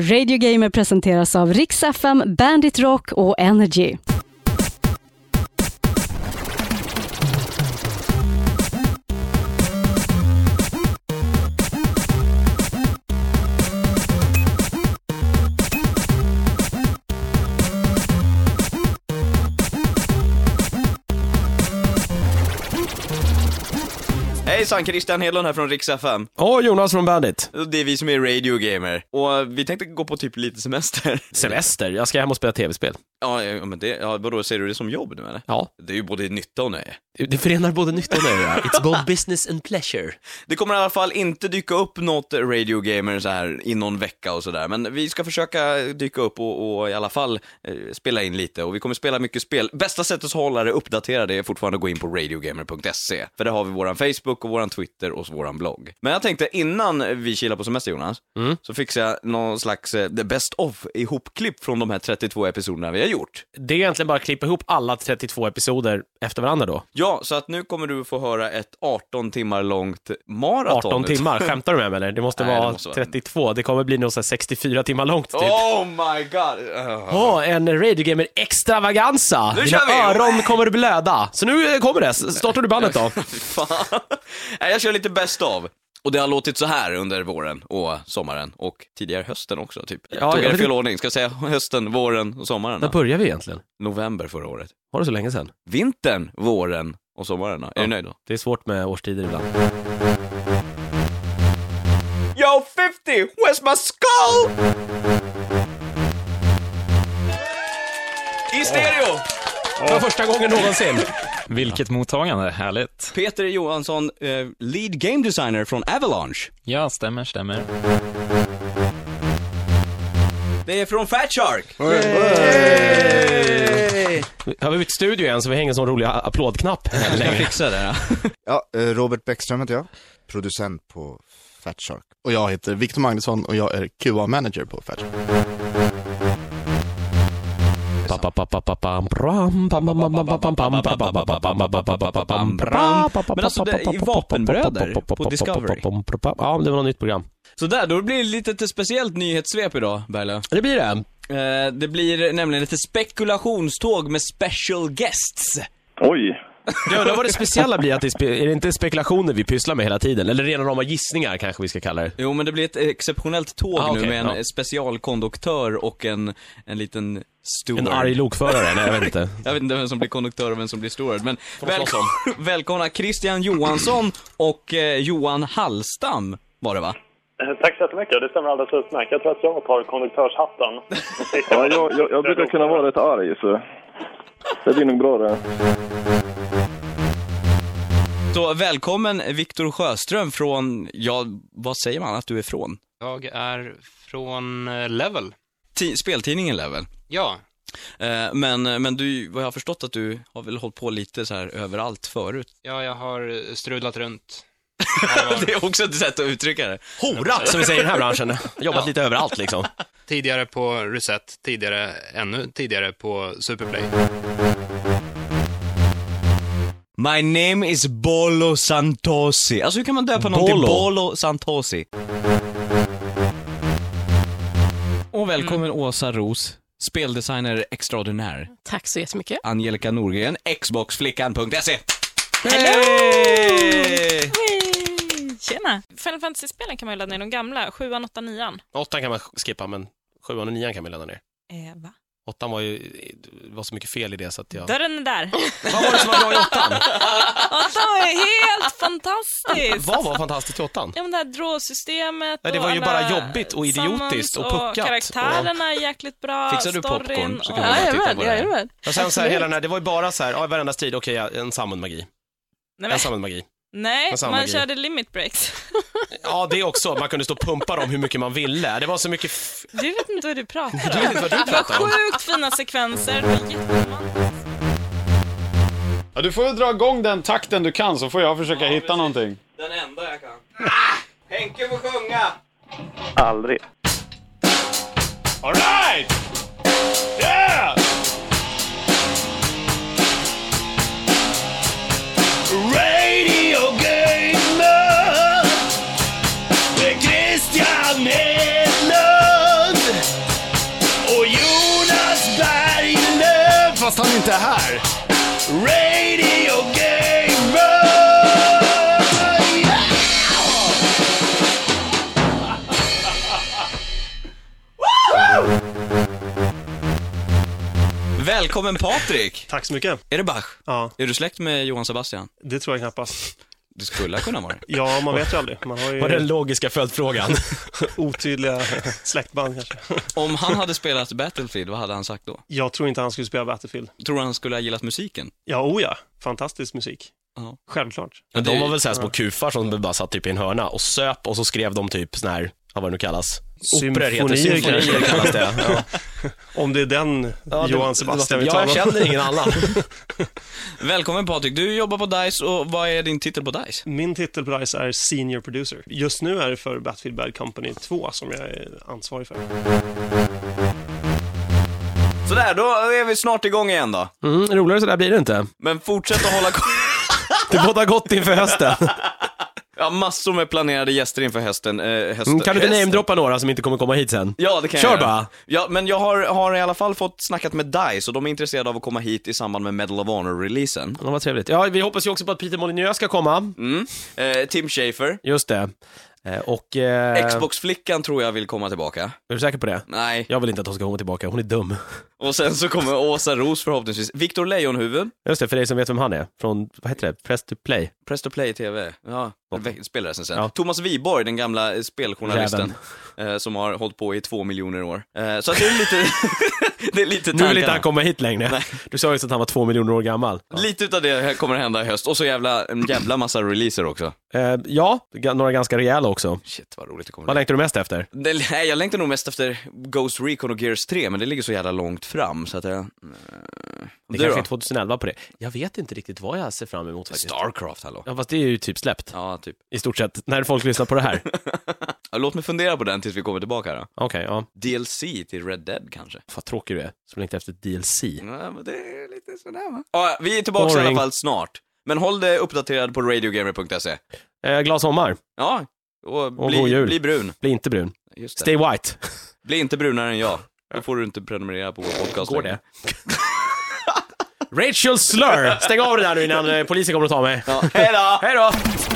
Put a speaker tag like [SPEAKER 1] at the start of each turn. [SPEAKER 1] Radio Gamer presenteras av Rix FM, Bandit Rock och Energy.
[SPEAKER 2] Hejsan, Christian Hedlund här från Rix FM.
[SPEAKER 3] Ja, Jonas från Bandit.
[SPEAKER 2] Det är vi som är Radio Gamer. Och vi tänkte gå på typ lite semester.
[SPEAKER 3] Semester, jag ska hem och spela tv-spel.
[SPEAKER 2] Ja, ja, men det, ja, vadå, ser du det som jobb nu eller?
[SPEAKER 3] Ja.
[SPEAKER 2] Det är ju både nytta och nöje.
[SPEAKER 3] Det förenar både nytta och nöje. It's both business and pleasure.
[SPEAKER 2] Det kommer i alla fall inte dyka upp något Radio Gamer så här i någon vecka och sådär, men vi ska försöka dyka upp och, och i alla fall eh, spela in lite och vi kommer spela mycket spel. Bästa sättet att hålla det uppdaterade är fortfarande att gå in på radiogamer.se, för där har vi våran Facebook och våran Twitter och våran blogg. Men jag tänkte innan vi kilar på semester Jonas,
[SPEAKER 3] Mm.
[SPEAKER 2] så fixar jag någon slags eh, the best of ihopklipp från de här 32 episoderna vi har gjort.
[SPEAKER 3] Det är egentligen bara att klippa ihop alla 32 episoder efter varandra då.
[SPEAKER 2] Ja, så att nu kommer du få höra ett 18 timmar långt maraton.
[SPEAKER 3] 18 timmar, skämtar du med mig eller? Det måste,
[SPEAKER 2] Nej, det
[SPEAKER 3] vara,
[SPEAKER 2] måste vara-
[SPEAKER 3] 32, det kommer bli något så här 64 timmar långt typ.
[SPEAKER 2] Oh my god!
[SPEAKER 3] Åh, en Radio Gamer extravaganza!
[SPEAKER 2] Nu
[SPEAKER 3] Dina
[SPEAKER 2] kör vi!
[SPEAKER 3] öron kommer att blöda. Så nu eh, kommer det, S- startar du bandet då?
[SPEAKER 2] Fy fan. Nej, jag kör lite bäst av. Och det har låtit så här under våren och sommaren och tidigare hösten också typ.
[SPEAKER 3] Ja,
[SPEAKER 2] Ja, Tog
[SPEAKER 3] jag
[SPEAKER 2] jag det i
[SPEAKER 3] vet
[SPEAKER 2] fel
[SPEAKER 3] inte.
[SPEAKER 2] ordning? Ska jag säga hösten, våren och sommaren?
[SPEAKER 3] När
[SPEAKER 2] Då?
[SPEAKER 3] börjar vi egentligen?
[SPEAKER 2] November förra året.
[SPEAKER 3] Var det så länge sedan?
[SPEAKER 2] Vintern, våren och sommaren då. Är du nöjd då?
[SPEAKER 3] Det är svårt med årstider ibland.
[SPEAKER 2] Yo 50, where's my skull? I stereo!
[SPEAKER 3] För första gången någonsin.
[SPEAKER 4] Vilket mottagande, härligt.
[SPEAKER 2] Peter Johansson, eh, lead game designer från Avalanche.
[SPEAKER 4] Ja, stämmer, stämmer.
[SPEAKER 2] Det är från Fat Shark.
[SPEAKER 3] Har vi bytt studio igen så vi hänger som roliga applådknapp här längre.
[SPEAKER 2] Fixa det. ja.
[SPEAKER 5] Ja, eh, Robert Bäckström heter jag, producent på Fat Shark.
[SPEAKER 6] Och jag heter Victor Magnusson och jag är QA-manager på Fetch.
[SPEAKER 3] Men
[SPEAKER 2] Men alltså, det är ju vapenbröder på Discovery.
[SPEAKER 3] Ja, det var något nytt program.
[SPEAKER 2] Så där, då blir det lite ett speciellt nyhetssvep idag, Berglöf.
[SPEAKER 3] Det blir det.
[SPEAKER 2] Eh, det blir nämligen lite spekulationståg med special guests.
[SPEAKER 7] Oj!
[SPEAKER 3] Jag undrar vad det speciella blir att det är, spe- är det inte spekulationer vi pysslar med hela tiden? Eller rena rama gissningar kanske vi ska kalla det.
[SPEAKER 2] Jo, men det blir ett exceptionellt tåg
[SPEAKER 3] Ah,
[SPEAKER 2] nu
[SPEAKER 3] okej,
[SPEAKER 2] med en
[SPEAKER 3] ja.
[SPEAKER 2] specialkonduktör och en, en liten steward.
[SPEAKER 3] En arg lokförare, nej jag vet inte.
[SPEAKER 2] Jag vet inte vem som blir konduktör och vem som blir steward, men välkom välkomna Christian Johansson och eh, Johan Hallstam var det va?
[SPEAKER 8] Eh, Tack så jättemycket. Det stämmer alldeles utmärkt. Jag tror att jag tar konduktörshatten.
[SPEAKER 7] Ja, jag, jag, jag brukar kunna vara rätt arg, så det blir nog bra det.
[SPEAKER 2] Så välkommen Viktor Sjöström från, ja, vad säger man att du är från?
[SPEAKER 9] Jag är från eh, Level.
[SPEAKER 2] Ti- speltidningen Level.
[SPEAKER 9] Ja,
[SPEAKER 2] Eh, Men, men du, vad jag har förstått att du har väl hållit på lite så här överallt förut.
[SPEAKER 9] ja jag har strulat runt.
[SPEAKER 2] Det är också ett sätt att uttrycka det.
[SPEAKER 3] Horat som vi säger i den här branschen. Jobbat lite överallt liksom.
[SPEAKER 9] Tidigare på Reset, tidigare, ännu tidigare på Superplay.
[SPEAKER 2] My name is Bolo Santosi. Alltså hur kan man döpa någon till
[SPEAKER 3] Bolo?
[SPEAKER 2] Bolo Santosi? Och välkommen Åsa Ros, speldesigner extraordinär.
[SPEAKER 10] Tack så jättemycket.
[SPEAKER 2] Angelica Norgren, Xboxflickan.se.
[SPEAKER 10] Hej! Tjena! Final Fantasy-spelen kan man ju ladda ner, de gamla. Sjuan, åttan, nian.
[SPEAKER 3] Åttan kan man skippa, men sjuan och nian kan vi lämna ner.
[SPEAKER 10] Eh, va?
[SPEAKER 3] Åttan var ju, det var så mycket fel i det så att jag...
[SPEAKER 10] Dörren är där.
[SPEAKER 3] Vad var det som var bra i åttan?
[SPEAKER 10] Åttan var ju helt fantastiskt!
[SPEAKER 3] Vad var fantastiskt i åttan?
[SPEAKER 10] Ja, men det här drogsystemet
[SPEAKER 3] Ja, det
[SPEAKER 10] och
[SPEAKER 3] var ju
[SPEAKER 10] alla
[SPEAKER 3] bara jobbigt och idiotiskt och
[SPEAKER 10] summons
[SPEAKER 3] puckat
[SPEAKER 10] Och karaktärerna är jäkligt bra.
[SPEAKER 2] Fixar du
[SPEAKER 10] storyn
[SPEAKER 2] popcorn så
[SPEAKER 10] och-
[SPEAKER 2] kan vi bara titta på det här.
[SPEAKER 10] jajamän.
[SPEAKER 3] Och sen så här, hela den här, det var ju bara så här, ja, i varenda strid, okej, ja, en samman magi.
[SPEAKER 10] Nej, men,
[SPEAKER 3] En samman magi.
[SPEAKER 10] nej
[SPEAKER 3] Men samma
[SPEAKER 10] man
[SPEAKER 3] grej.
[SPEAKER 10] körde limit breaks.
[SPEAKER 3] Ja, det också, man kunde stå och pumpa dem hur mycket man ville. Det var så mycket, f-
[SPEAKER 10] Du vet inte vad du pratar om.
[SPEAKER 3] du vet inte vad du pratar om.
[SPEAKER 10] Sjukt fina sekvenser. Det var jätteromantiskt.
[SPEAKER 8] Ja, du får väl dra igång den takten du kan så får jag försöka hitta någonting.
[SPEAKER 2] Den enda jag kan. Ah! Henke får sjunga!
[SPEAKER 7] Aldrig.
[SPEAKER 8] Alright! Yeah! Radio Gamer med Christian Hedlund.
[SPEAKER 6] fast han inte är här. Radio
[SPEAKER 2] Välkommen Patrik!
[SPEAKER 11] Tack så mycket.
[SPEAKER 2] Är det Bach?
[SPEAKER 11] Ja,
[SPEAKER 2] Är du släkt med Johan Sebastian?
[SPEAKER 11] det tror jag knappast.
[SPEAKER 2] Det skulle kunna vara det.
[SPEAKER 11] Ja, man vet ju aldrig. Man har ju
[SPEAKER 3] Var den logiska följdfrågan?
[SPEAKER 11] otydliga släktband kanske.
[SPEAKER 2] Om han hade spelat Battlefield, vad hade han sagt då?
[SPEAKER 11] Jag tror inte han skulle spela Battlefield.
[SPEAKER 2] Tror du han skulle ha gillat musiken?
[SPEAKER 11] Ja, oh ja. Fantastisk musik.
[SPEAKER 2] Ja.
[SPEAKER 11] Självklart.
[SPEAKER 3] Men de var väl såhär små kufar som bara satt typ i en hörna och söp och så skrev de typ sån här, vad var det nu kallas? Operor heter det,
[SPEAKER 11] Symfonier
[SPEAKER 3] symfonier
[SPEAKER 11] kanske.
[SPEAKER 3] kallas det. Ja.
[SPEAKER 11] Om det är den
[SPEAKER 3] Ja, det-
[SPEAKER 11] Johan Sebastian vi
[SPEAKER 3] Ja,
[SPEAKER 11] talar
[SPEAKER 3] jag
[SPEAKER 11] om.
[SPEAKER 3] känner ingen annan.
[SPEAKER 2] Välkommen Patrik, du jobbar på DICE och vad är din titel på DICE?
[SPEAKER 11] Min titel på DICE är Senior Producer. Just nu är det för Battlefield Bad Company 2 som jag är ansvarig för.
[SPEAKER 2] Sådär, då är vi snart igång igen då.
[SPEAKER 3] Mm, roligare sådär blir det inte.
[SPEAKER 2] Men fortsätt att hålla koll.
[SPEAKER 3] Det bådar gott inför hösten. Mm,
[SPEAKER 2] Ja, massor med planerade gäster inför hösten. Eh, hösten.
[SPEAKER 3] Mm, Kan du inte
[SPEAKER 2] Hösten.
[SPEAKER 3] namedroppa några som inte kommer komma hit sen?
[SPEAKER 2] Ja, det kan
[SPEAKER 3] Kör
[SPEAKER 2] jag göra.
[SPEAKER 3] bara.
[SPEAKER 2] Ja, men jag har, har i alla fall fått snackat med DICE och de är intresserade av att komma hit i samband med Medal of Honor-releasen.
[SPEAKER 3] Ja, vad trevligt. Ja, vi hoppas ju också på att Peter Molyneux ska komma.
[SPEAKER 2] Mm. Eh, Tim Schafer.
[SPEAKER 3] Just det. Eh, Och... Eh,
[SPEAKER 2] Xbox-flickan tror jag vill komma tillbaka.
[SPEAKER 3] Är du säker på det?
[SPEAKER 2] Nej.
[SPEAKER 3] Jag vill inte att hon ska komma tillbaka, hon är dum.
[SPEAKER 2] Och sen så kommer Åsa Ros förhoppningsvis. Viktor Lejonhufvud.
[SPEAKER 3] Just det, för dig som vet vem han är, från, vad heter det, Press to Play.
[SPEAKER 2] Press to play TV. Ja, ve- spelrörelsen sen.
[SPEAKER 3] Ja.
[SPEAKER 2] Thomas Wiborg, den gamla eh, speljournalisten. Eh, som har hållit på i två miljoner år. Eh, så att det är lite... det är lite
[SPEAKER 3] Nu vill inte
[SPEAKER 2] tankarna.
[SPEAKER 3] han komma hit längre.
[SPEAKER 2] Nej.
[SPEAKER 3] Du sa ju att han var två miljoner år gammal.
[SPEAKER 2] Lite utav det här kommer hända i höst. Och så jävla, en jävla massa releaser också.
[SPEAKER 3] Eh, ja, ga- några ganska rejäla också.
[SPEAKER 2] Shit vad roligt det kommer
[SPEAKER 3] Vad
[SPEAKER 2] bli.
[SPEAKER 3] längtar du mest efter?
[SPEAKER 2] Det, nej, jag längtar nog mest efter Ghost Recon och Gears 3, men det ligger så jävla långt fram så att jag... eh, Du
[SPEAKER 3] Det
[SPEAKER 2] då?
[SPEAKER 3] kanske är 2011 på det. Jag vet inte riktigt vad jag ser fram emot faktiskt.
[SPEAKER 2] Starcraft, hallå?
[SPEAKER 3] Ja, fast det är ju typ släppt.
[SPEAKER 2] Ja, typ.
[SPEAKER 3] I stort sett, när folk lyssnar på det här. Okej,
[SPEAKER 2] Ja, låt mig fundera på den tills vi kommer tillbaka då.
[SPEAKER 3] ja.
[SPEAKER 2] DLC till Red Dead kanske?
[SPEAKER 3] Vad tråkig du är, som längtar efter DLC.
[SPEAKER 2] Ja, men det är lite sådär va? Ja, vi är tillbaka i
[SPEAKER 3] Boring.
[SPEAKER 2] alla fall snart. Men håll dig uppdaterad på radiogamer.se.
[SPEAKER 3] Eh, glad sommar,
[SPEAKER 2] Ja, och bli,
[SPEAKER 3] god jul.
[SPEAKER 2] bli brun.
[SPEAKER 3] bli inte brun.
[SPEAKER 2] Just det.
[SPEAKER 3] Stay white.
[SPEAKER 2] Bli inte brunare än jag. Då får du inte prenumerera på vår podcast
[SPEAKER 3] Går
[SPEAKER 2] längre.
[SPEAKER 3] det? Rachel Slur! Stäng av det där nu innan eh, polisen kommer att ta mig.
[SPEAKER 2] Ja, hejdå!
[SPEAKER 3] Hej då!